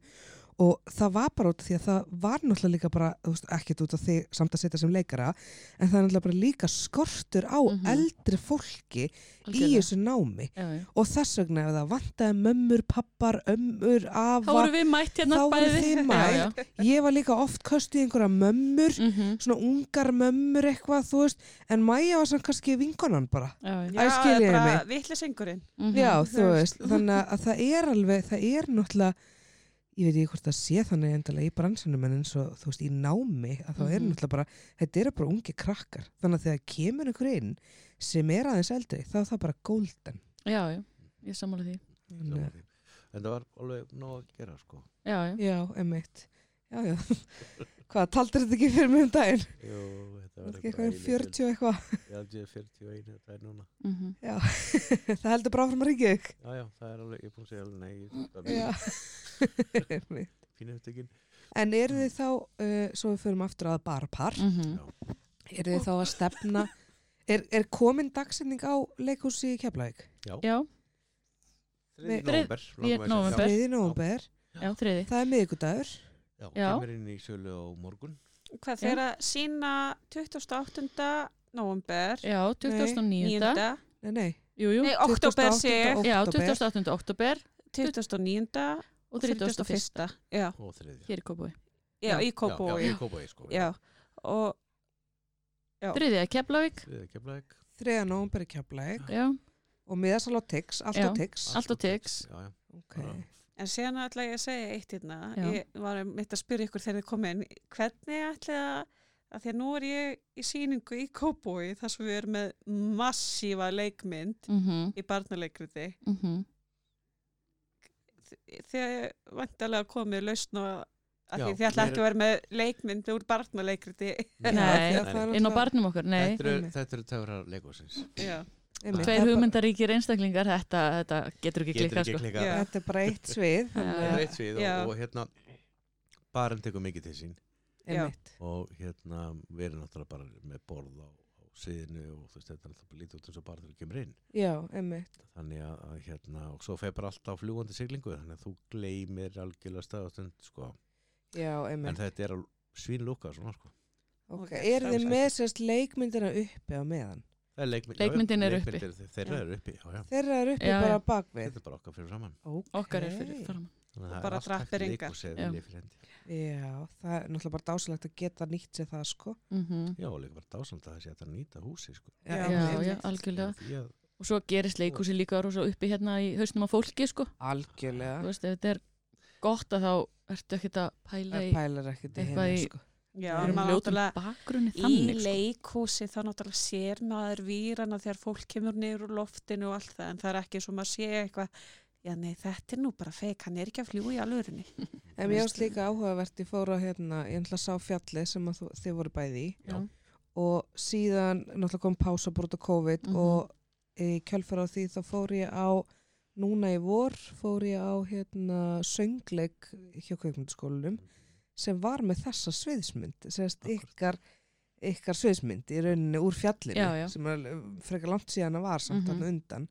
og það var bara út af því að það var náttúrulega líka bara, þú veist, ekkert út af því samt að setja sem leikara, en það er náttúrulega bara líka skortur á Mhm. eldri fólki í Algjörlega. þessu námi Já, já. og þess vegna ef það vantaði mömmur, pappar, ömmur, Þá afa, voru við mætt hérna Þá voru bæði þið mætt. ég var líka oft köstuð í einhverja mömmur Já, já. Mhm, svona ungar mömmur eitthvað, þú veist en Maja var samt kannski vinkonan bara já, já. Æ, skiljiði það er bara mig. vitlisengurinn. Mhm. Já, Mhm. þú veist, þannig að það er alveg, það er náttúrulega, ég veit ekki hvort það sé þannig endalega í bransanum en eins og þú veist, í námi, að þá er Mhm. náttúrulega bara, þetta eru bara ungi krakkar, þannig að þegar kemur einhver inn sem er aðeins eldri, þá er það bara golden. já, já, ég sammála því Þannig að- en það var alveg nóg að gera sko já, já. Já, emmitt. Já, já. Hvað, taldur þetta ekki fyrir mig um daginn? Jú, þetta Þetta var ekki eitthvað um 40 og eitthvað. Ég held ég 41 þetta er núna Mm það heldur bara áfram að ríkja þig. Já, já, það er alveg, ég er búin að segja alveg nei ég- það Já. er Einmitt. Fínu upptökin en eru þið þá, uh, svo við förum aftur að barpar, Mhm. eru þið þá að stefna, er, er komin dagsetning á leikhúsi í Keflavík? já, Þriði Þrið- nóvember langar mig að nóvember. segja. 3. november, já, þriði það er miðgudagur Já, Já. já, kemur inn í sölu á morgun Hvað Já. þeir að sína 28. november, já, 2009 9. Nei, nei, jú, jú. Nei, oktober sé ég, já, október. 28. oktober 29. og 31. Já, og þriðja hér í Kópúi já, Já. í Já, Kópói. já, Já, í Kópavogi sko og þriði er Keflavík Þriðja kemlaðið 3. november í Keflæk já, og miðasal á Tix, Já. alltaf Tix Allt á Tix. Já, já okay. En síðan ætla ég að segja eitt hérna, Já. ég var mitt að spyrja ykkur þegar þið komið inn, hvernig ætla að að því að nú er ég í sýningu í Kóbói þar sem við erum með massífa leikmynd Mm -hmm. í barnaleikriði Mm -hmm. þegar vantarlega komið lausn og að Já, því þið ætla mér- ekki að vera með leikmynd úr barnaleikriði Nei, Já, það er Inn á náttúrulega- barnum okkur, nei. Þetta eru, einmitt. þetta eru töfrar leikvarsins. Já. einmitt, Tveir það er bara- hugmyndaríkir einstaklingar, þetta, þetta getur ekki Getur klikkað ekki sko. klikkað. Já. Þetta er bara eitt svið. þannig Það að- er eitt svið Já. og, og hérna barinn tekur mikið til sín Já. einmitt. og hérna við erum náttúrulega bara með borð á, á síðinu og þú veist þetta er alltaf bara lítið út eins og bara þegar þú kemur inn. Já, einmitt. Þannig að, að hérna og svo feir bara alltaf fljúandi siglingu þannig að þú gleymir algjörlega stað og stund sko. Já, einmitt. En þetta er svínlúka svona sko. Ok, Ok, eru þið framsækið. með sérst leikmyndina uppi á meðan? Það er Leikmynd, Leikmyndin er uppi. uppi. Þeirra Já. eru uppi, já já. Þeirra eru uppi Já, bara já. bakvið. Þetta er bara okkar fyrir framann. Okkar er fyrir fram. Þannig að Og það er bara allt hægt drappir engar. leikhúsið ef Já. vilja fyrir hendi. Já, það er náttúrulega bara dásalegt að geta nýtt sér það, sko. Mm Já, og líka bara dásamt að það sé hægt að nýta húsi sko. Já, Já, Sko. já, einmitt. algjörlega. Því að- Og svo gerist leikhúsi líka rosa uppi hérna í hausnum á fólki, sko. Algjörlega. Þú veist, ef þetta er gott að þá ertu ekkert að pæla Það í pælar ekkert í eitthvað henni, í- sko. Já, Við einhverjum erum maður ljótum náttúrulega bakgrunni í þannig, sko. leikhúsi þá náttúrulega sér maður výrana þegar fólk kemur niður úr loftinu og allt það en það er ekki svo maður sé eitthvað já nei þetta er nú bara feik, hann er ekki að fljúa í alvörinni En mér finnst líka áhugavert, ég fór á hérna, ég ætla að sá fjallið sem að þú, þið voru bæði í Já. og síðan náttúrulega kom pása brúta COVID Mhm. og í kjölfara á því þá fór ég á, núna í vor, fór ég á hérna söngleik hjá kveikmyndaskólanum sem var með þessa sviðsmynd, sérst Akkúrat. ykkar, ykkar sviðsmynd í rauninni úr fjallinu Já, já. sem er alveg frekar langt síðan að var samt Mhm. þarna undan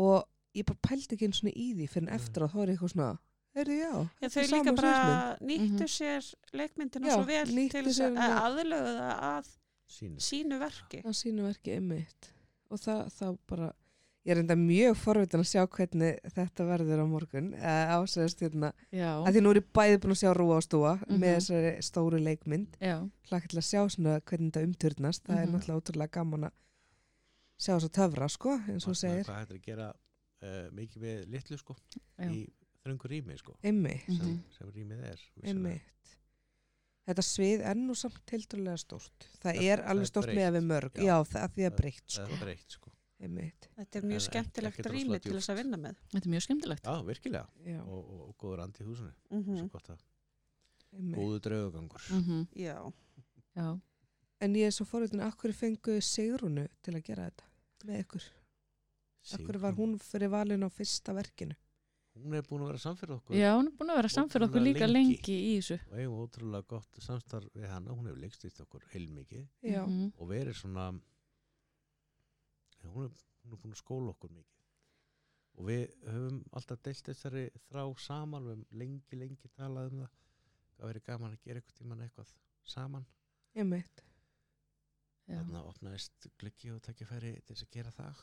og ég bara pældi ekki einu svona í því Mm. fyrir Nei. eftir að þá er ég eitthvað svona, er já, Já, þetta þau er líka sama bara sviðsmynd." nýttu Mhm. sér leikmyndina Já, svo vel nýttu til þess sér að vel. aðlögu það að Sýnist. sínu verki. á sínu verki einmitt og það, það bara ég er enda mjög forvitin að sjá hvernig þetta verður á morgun eh, á sérst hérna, Já, að því nú er ég bæði búin að sjá rúa á stúa með Mhm. þessari stóru leikmynd já, hlakka til að sjá svona hvernig þetta umturnast það er Mhm. náttúrulega ótrúlega gaman að sjá þess að töfra sko, eins og þú Magnað segir hvað hættir að gera uh, mikið með litlu sko Já. í þröngu rými sko einmitt, sem, Mhm. sem rýmið er vissulega. einmitt þetta svið er nú samt tildulega stórt það Það- er það alveg er stórt með að við mörg Já. já, það að því að breytt sko, það er breytt sko einmitt Þetta er mjög En ekki- skemmtilegt ekkert rými rosalega til þess að djúpt. vinna með. þetta er mjög skemmtilegt. já virkilega já, og, og, og góður andi í húsinu Mm mm. gott að einmitt góðu draugagangur Mm Já, Já, En ég er svo fórhundin, akkur fengu Sigrúnu til að gera þetta með ykkur? Akkur var hún fyrir valin á fyrsta verkinu? hún er búin að vera samfyrir okkur já, hún er búin að vera samferð okkur líka Ótrúlega lengi. lengi í þessu. og eigum ótrúlega gott samstarf við hana hún hefur leikstýrt okkur heilmikið Já. Mhm. og verið svona Já, hún er, hún er búin að skóla okkur mikið og við höfum alltaf deilt þessari þrá saman við höfum lengi, lengi talað um það það verið gaman að gera eitthvað tíman eitthvað saman Ég meitt. Já. þannig að opnaðist glöggi og takkifæri til þess að gera það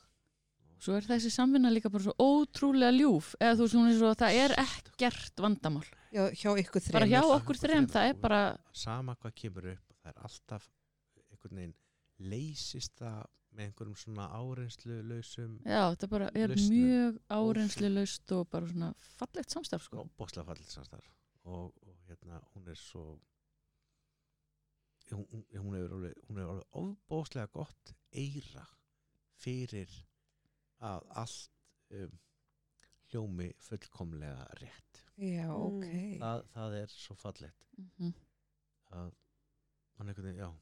Svo er þessi samvinna líka bara svo ótrúlega ljúf eða þú veist hún er svo að það er ekkert vandamál. Já, hjá ykkur Bara hjá þreymur. okkur þrem, það er bara, sama hvað kemur upp það er alltaf einhvern veginn leysist það með einhverjum svona áreynslu lausum já, þetta bara er Lausnin. mjög árensli laust og bara svona fallegt samstarf sko. sko, bóðslega fallið samstarf og, og hérna, hún er svo hún, hún- hún hefur alveg, hún hefur alveg ofbóðslega gott eira fyrir að allt um, hljómi fullkomlega rétt Já, Mm. ok. það, það er svo fallegt Mhm. að hann einhvern veginn, já og,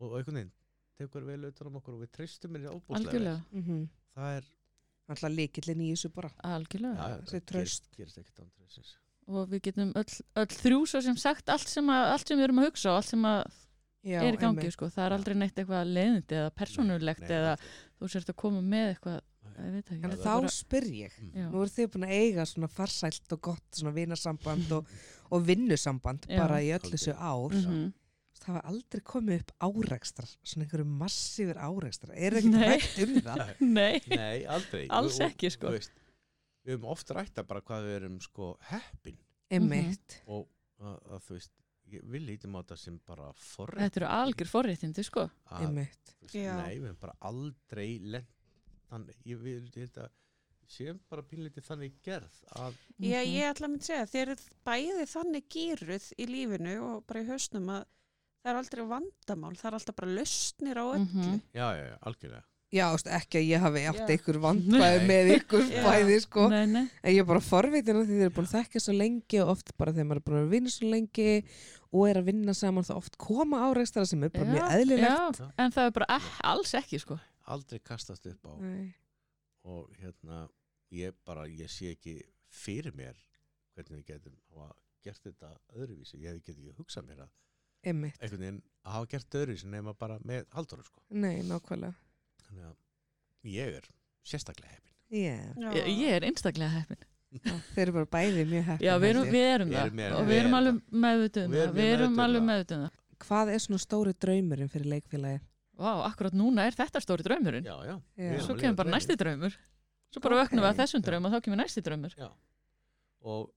og einhvern veginn, tekur vel auðvitað um okkur og við treystum henni ofbóðslega Algjörlega, Mm -hmm. það er, Alltaf líkillin í þessu bara. algjörlega. já, þessi það gerist, traust. gerist ekkert án treystis Og við getum öll, öll þrjú svo sem sagt allt sem, að, allt sem við erum að hugsa og allt sem að Já, er í gangi einmitt. sko. Það er aldrei neitt eitthvað leiðindi eða persónulegt eða þú sért að koma með eitthvað, ég veit ekki. En Já, þetta þá bara- spyr ég. Mm. Já. Nú eru þið búin að eiga svona farsælt og gott svona vinasamband og, og vinnusamband Já. bara í öll þessu ár. Mhm. Það hafa aldrei komið upp árekstrar, svona einhverju massífur árekstrar. Er það ekki Nei. rætt um það? Nei, Nei, aldrei Alls Og- og- ekki, sko. þú veist, Við höfum oft rætta bara hvað við erum sko heppin Einmitt. og að, að þú veist ég- við lítum á þetta sem bara forrætt þetta eru algjör forréttindi sko. Mhm. Einmitt. Já. Nei, við höfum bara aldrei lent þannig ég, við, ég held að séum bara pínleiti þannig gerð að Já, Mhm. ég ætla að mynda segja, þeir eru bæði þannig gýruð í lífinu og bara í hausnum að það er aldrei vandamál, það er alltaf bara lausnir á öll. Mhm. já, já, já, algjörlega Já, þú veist, ekki að ég hafi átt Já. ykkur vandkvæði Nei. með ykkur Já. bæði, sko. Nei, nei. En ég er bara forvitin að því þeir eru búin að þekka svo lengi og oft bara þegar maður er búin að vinna svo lengi og er að vinna saman þá oft koma áreikstara sem er bara Já, mjög eðlilegt. Já, en það er bara eh, alls ekki, sko. aldrei kastast upp á Mm. Nei. og hérna, ég bara, ég sé ekki fyrir mér hvernig við getum hafa gert þetta öðruvísi, ég hef ekki hugsað mér að Einmitt. einhvern veginn að hafa gert öðruvísi nema bara með haldur sko. Nei, nákvæmlega. þannig að ég er sérstaklega heppin Yeah. Já. Ég, ég er einstaklega heppin. Þeir eru bara bæði mjög heppin. Já, við erum, held ég. við erum Við það. erum meira- og við við erum erum alveg meðvituð um Og það. við erum Við mjög erum meðvituð um alveg það. meðvituð um það. Hvað er svona stóri draumurinn fyrir leikfélagi? Vá, akkurat núna er þetta stóri draumurinn. já, já, Já. við erum Svo að kemur lifa bara drauminn. næsti draumur. Svo bara vöknum við Ok. að þessum draum og þá kemur næsti draumur. og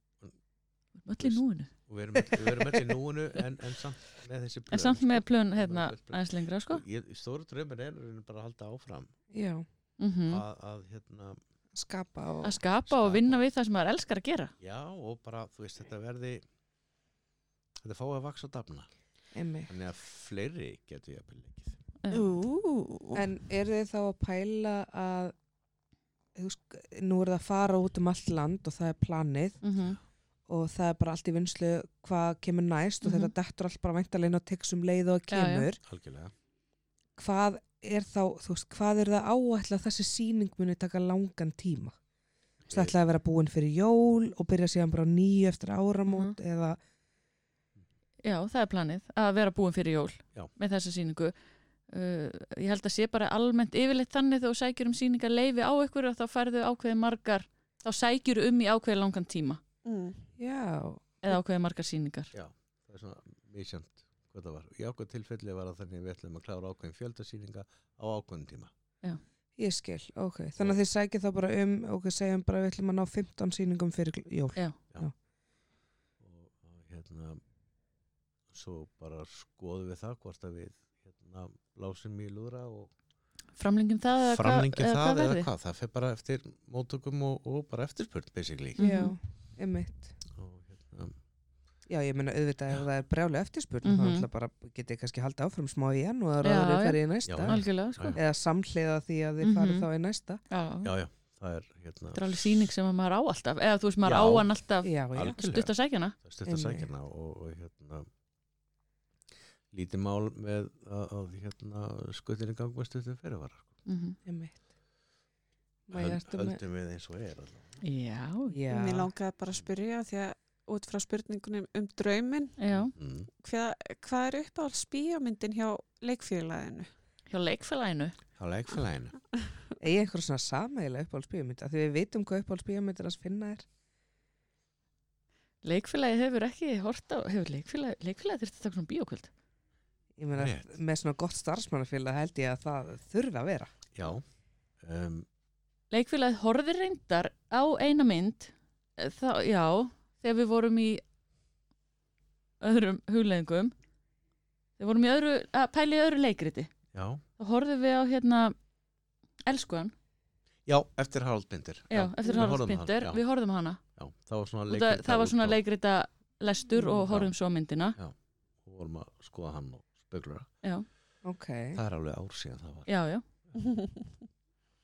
Öll í núinu. og við erum, öll- við erum öll í núinu en, en samt með þessi plön En samt með plön hérna Plön, plön. aðeins lengra, sko. ég, stóru drömmin er í rauninni bara að halda áfram Já, Mhm. að, að hérna, skapa og... Að skapa og Skapa. vinna við það sem maður elskar að gera. já og bara þú veist þetta verði þetta fái að vaksa og dafna Einmitt. þannig að fleiri getur ég að leikið Ú, En eru þið þá að pæla að þú veist, nú er það að fara út um allt land og það er planið Mhm. og það er bara allt í vinslu hvað kemur næst og Mhm. þetta dettur allt bara væntalegin og teksum um leið og Já, já. kemur. algjörlega Hvað er þá, þú veist, hvað er það áætla að þessi sýning muni taka langan tíma? Þú veist, Það ætlaði að vera búin fyrir jól og byrja síðan bara á nýju eftir áramót Mhm. eða, Já, það er planið að vera búin fyrir jól Já. með þessa síningu. Uh, ég held að sé bara almennt yfirleitt þannig þegar þú sækjur um síningar leifi á ykkur að þá færðu ákveði margar, þá sækjur um í ákveði langan tíma mm. já, eða ákveði margar síningar. það er svona misjönd hvað það var í ákveð tilfelli var það þannig að við ætlum að klára ákveðin fjöldasýninga á ákveðin tíma ég skil, ok. Þannig að þið sækja þá bara um, ok, segjum bara við ætlum að ná 15 sýningum fyrir gl- jól. og, og hérna svo bara skoðum við það hvort að við hérna lásum í lúðra og Framlengum það eða framlengja hvað, það eða verði? hvað, það fer bara eftir móttökum og, og bara eftirspurn basically Mhm. Já, einmitt. og hérna, Já, ég meina auðvitað ef það er brjálega eftirspurn mm Mhm. -hmm. þá náttúrulega bara getið kannski haldið áfram smá í enn og það Já, ráður já. ykkar í næsta Já, Algjörlega, sko. Já, eða samhliða því að þið farið Mhm. þá í næsta Já, já, já, það er hérna þetta er alveg síning sem að maður á alltaf, eða þú veist maður Já. á hann alltaf Já, já, algjörlega, stutt að sækjana. stutta Einmitt. sækjana og, og hérna lítið mál með að, að hérna skutinni gang með stuttum fyrirvara sko. Mm einmitt Má ég Höld, ertu með- höldum við eins og er allavega. Já, Já, Mér langaði bara að spyrja því að út frá spurningunum um drauminn, já, mm. hvað, hvað er uppáhalds bíómyndin hjá leikfélaginu? hjá leikfélaginu. á leikfélaginu eigi einhver svona sameigilega uppáhaldsbíómynd af því við vitum hvað uppáhaldsbíómynd er að finna er Leikfélagi hefur ekki hort á, hefur leikfélagi, leikfélagi þurfti að taka svona bíókvöld. ég meina Rétt. með svona gott starfsmannafélag held ég að það þurfi að vera já um, Leikfélagið horfir reyndar á eina mynd, eh, þá, já, þegar við vorum í öðrum hugleðingum, þegar við vorum í öðru, að pæla í öðru leikriti, já, þá horfum við á hérna Elskuðan, já, eftir Haraldbindir já, eftir við Harald horfðum á hana, Pinter, já, við horfum á hana. já, það var svona Út að- leikrita Það var svona útgáfa. leikrita lestur og Mm, já. horfum svo á myndina. og vorum að skoða hann og spöglura Já, ok, það er alveg ár síðan það var já, já.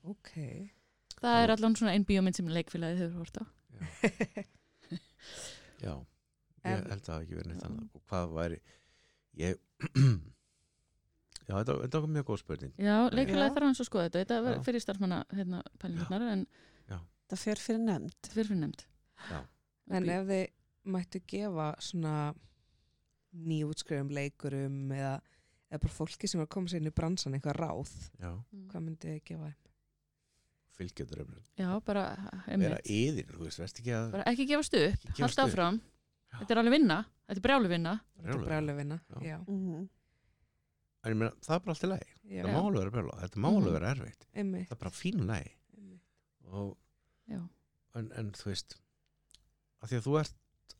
ok Það er allan svona einn bíómynd sem leikfélagið hefur hort á. já, En- ég held að það hafi ekki verið neitt Já. annað og hvað væri ég já, þetta, þetta var mjög góð spurning Já, leikfélagið Já. þarf hans að skoða þetta. Þetta var Já. fyrir starfmanna hérna, pælingarnar en Það fer fyrir nefnd. þetta fyrir fyrir nefnd. Já. en ef þið mættu gefa svona nýjútskriðum leikurum eða, eða bara fólki sem er að koma sér inn í bransan eitthvað ráð, já, Mm. hvað myndið þið gefa þeim? fylgjöður vera Já, bara, einmitt. yðir, þú veist, veist ekki að bara ekki gefast upp, Ekki gefast halda upp. áfram Já. þetta er alveg vinna, þetta er brjálu vinna Þetta er brjálæði. brjáluvinna, Já. já. Mm. En ég meina, það er bara allt í lagi, já. það má alveg vera brjóla þetta má alveg Mhm. vera erfitt, Einmitt, það er bara fínu lagi einmitt. og, Já. en, en þú veist að því að þú ert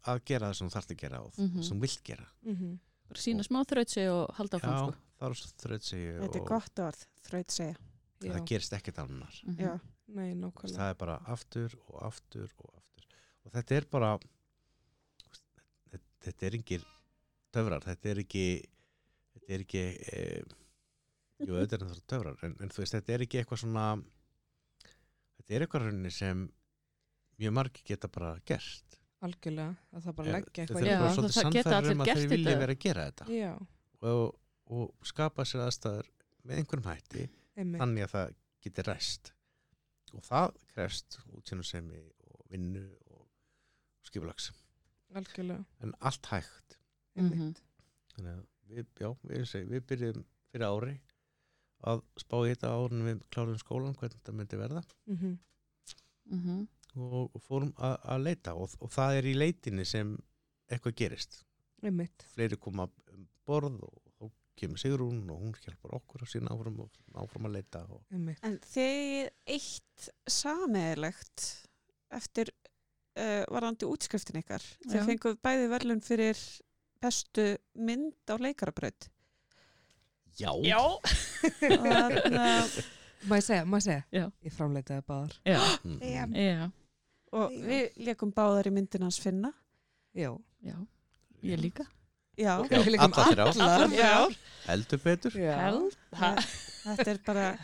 að gera það sem þú þarft að gera og Mhm. sem þú vilt gera Mm bara sína smá þrautsi og halda áfram já, sko. það er svo þrautsegi og Þetta er gott orð, þraut segja. Já, það gerist ekkert annar Mhm. Já. nei, Veist, nákvæmlega. það er bara aftur og aftur og aftur og þetta er bara þetta, þetta er engir töfrar, þetta er ekki þetta er ekki e, jú, þetta er náttúrulega töfrar en, en þú veist, þetta er ekki eitthvað svona þetta er eitthvað rauninni sem mjög margir geta bara gert algjörlega, að það bara Eh, leggja þetta eitthvað er Já, bara í svolítið það geta sannfæður um allir að gert þeir vilja þetta. vera að gera þetta það. Já, og, og skapa sér aðstæður með einhverjum hætti einmitt. þannig að það geti ræst og það krefst útsýnusemi og vinnu og skipulags Algjörlega, en allt hægt einmitt. Mhm. þannig að við, já, við, seg, við byrjum fyrir ári að spá í þetta árun við klárum skólan hvernig þetta myndi verða Mhm. Mhm. og, og fórum að, að leita og, og það er í leitinni sem eitthvað gerist einmitt, fleiri koma um borð og þá kemur Sigrún og hún hjálpar okkur á sína áfram og áfram að leita og einmitt. En þeir eitt sameigilegt eftir uh, varandi útskriftin ykkar. Já. Þeir fenguð bæði verðlun fyrir bestu mynd á leikarabraut. já, Já, Þarna, Má ég segja, má ég segja? Já. Ég framleitaði báðar. já, Mm, Já. mm, já, og við leikum báðar í myndin hans finna. Já. já, ég líka um Já, Já, Við leikum alla þrjár. allar þrjár. heldur betur Held Ha. Þa- þetta er bara,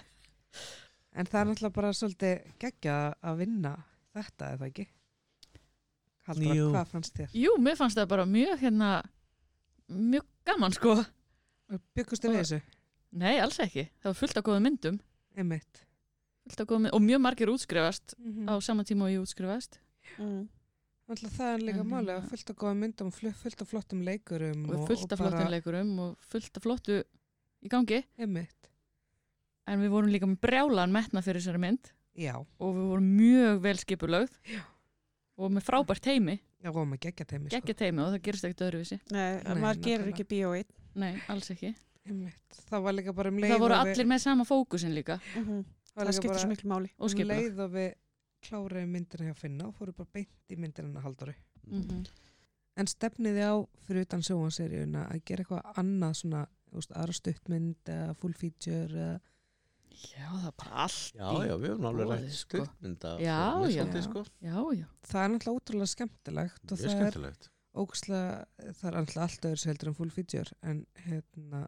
En það er náttúrulega bara svolítið geggja að vinna þetta eða ekki? Haldur, Jú. hvað fannst þér? Jú, mér fannst það bara mjög hérna mjög gaman sko Byggustu við þessu? Nei, alls ekki, það var fullt af góðum myndum Einmitt. fullt af góðum myndum og mjög margir útskrifast Mm á sama tíma og ég útskrifast mm, það er líka En, máli að hérna- fullt af góða myndum, flu- fullt af flottum leikurum og fullt af flottum leikurum og fullt af flottu í gangi Einmitt. en við vorum líka með brjálan metna fyrir þessari mynd Já, og við vorum mjög vel skipulögð og með frábært teimi, já, og með geggja teimi. geggja teimi og það gerist ekkert öðruvísi nei, Nei, maður gerir nákvæmlega. ekki bíóið. Nei, alls ekki. Einmitt. Það var líka bara um leið Það voru og við- allir með sama fókusin líka Mm var Það líka skiptir bara svo miklu máli. og um skipulag. leið og við kláraði myndina hjá Finna og fóru bara beint í myndina Haldur Mm Mhm. En stefniði á fyrir utan sjóanseríuna að gera eitthvað annað svona þú veist, aðra stuttmynd eða full feature eða Já, það er bara allt. já, já, við höfum alveg Boði, rætt sko. stuttmynda Já, formið já. svolítið, sko. Já, já. það er náttúrulega ótrúlega skemmtilegt og mjög það er skemmtilegt ókslega það er náttúrulega allt öðru heldur en full feature en hérna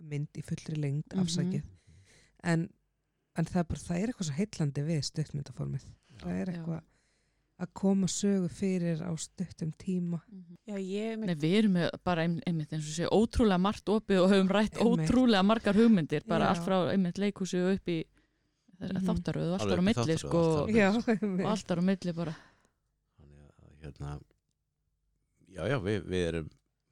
mynd í fullri lengd Mhm. afsækið en, en það er bara það er eitthvað svo heillandi við stuttmyndaformið það er Já. eitthvað að koma sögu fyrir á stuttum tíma Já, ég, Nei, við erum með bara ein- einmitt eins og sé ótrúlega margt opið og höfum rætt Einmitt. ótrúlega margar hugmyndir bara Já. allt frá einmitt leikhúsi og upp í Mhm. mm. þáttaröðu og allt Alveg ára á upp í milli þáttaröð, sko allt og þar. Já, einmitt. allt ára á milli bara. þannig að hérna já, já, við, við erum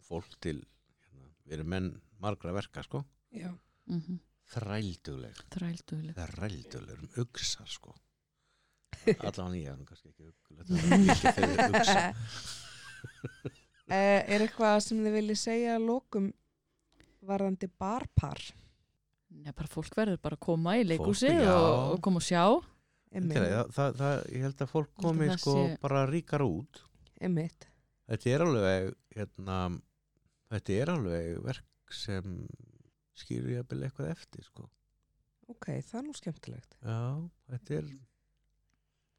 fólk til hérna, við erum menn margra verka, sko Já. Mm þrælduleg, Þrælduðileg. þrælduleg um ugsar, sko allan ég er nú kannski ekki uggulegt þegar við ugsa Eh, er eitthvað sem þið viljið segja að lokum varðandi barpar Nei, bara fólk verður bara að koma í leikhúsi Fólk, já. og, og koma og sjá. Einmitt. það, það, það, ég held að fólk Ég held að komi það sko sé- bara ríkar út Einmitt. þetta er alveg hérna, þetta er alveg verk sem skýrur ég að byrja eitthvað eftir, sko Ok, það er nú skemmtilegt. Já, þetta er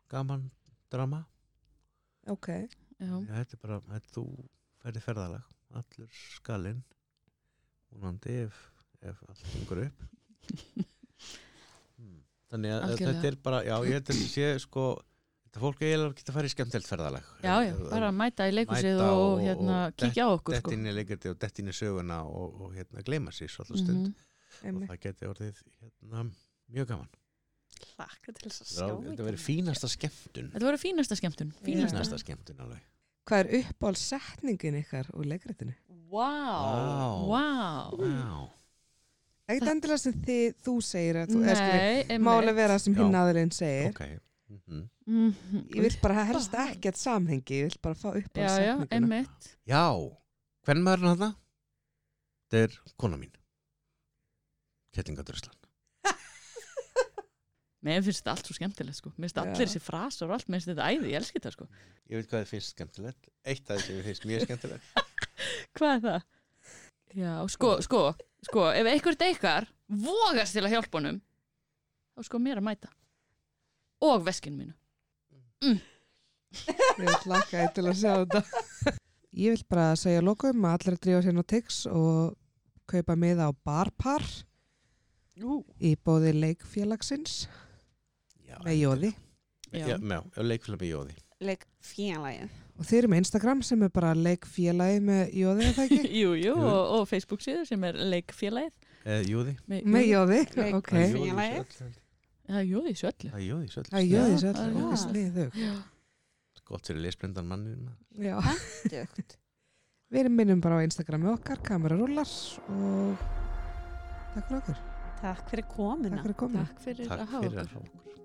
gaman drama Ok, Já, Já, þetta er bara, þetta, þú færi ferðalag allur skalinn vonandi ef, ef allt gengur upp Hmm. þannig að Algjörlega. þetta er bara já, ég held að þetta sé sko þetta fólk eiginlega geta að fara í skemmtelt ferðalag já, já bara að mæta í leikhúsið Mæta og, og- hérna og kíkja á okkur sko. dettinni leikandi og dettinni söguna og, og hérna gleyma sér svolítið stund Mhm. einmitt. og það geti orðið hérna mjög gaman hlakka til þess að sjá. Þetta þetta. þetta verið fínasta skemmtun Þetta voru fínasta skemmtun. Fínasta. fínasta skemmtun alveg Hvað er uppáhaldsetningin ykkar úr leikréttinu? Vá. Vá. Já, Ekkert endilega sem þið, þú segir að þú er skilur. Nei, einmitt. Máli vera sem Já. hinn aðurinn segir. ok mm Mhm. Ég vil bara helst Uppáhald. ekkert samhengi, ég vil bara fá Já, já, uppáhaldsetninguna. einmitt. Já, hvern maður hann það? Þetta er kona mín Kettingadröslan Mér finnst þetta allt svo skemmtilegt sko. Mér finnst Já. allir þessi frasar og allt, mér finnst þetta æði, ég elski þetta sko. Ég veit hvað þið finnst skemmtilegt Eitt af þessi finnst mjög skemmtilegt Hvað er það? Já, sko, sko, sko, ef einhver deikar vogast til að hjálpa honum, þá sko mér að mæta. Og veskinu mínu. Ég vil lakkaði til að sjá þetta. Ég vil bara segja lokum að allir að drífa sérna á TIX og kaupa miða á barpar Jú. í bóði leikfélagsins Já, með jóði Já, Já. já, já leikfélag með jóði. Leik félagið. og þeir eru með Instagram sem er bara leikfélagi með jóði eða ekki? Jú, jú, Jú. og, og Facebook síður sem er leikfélagið. Eh, jóði. með jóði, Leik- ok Það er jóði Félagið. í þessu öllu. Það er jóði svo öllu. Það það er er jóði, svolítið. jóði sér Já, allir, já. ok sniðug Gott fyrir lesblindan mannir maður. já Dögt. Við erum minnum bara á Instagrami okkar, kamerarúlar og takk fyrir okkur, Takk fyrir takk komuna. fyrir kominu. Takk fyrir Takk að hafa fyrir að okkur. hafa okkur.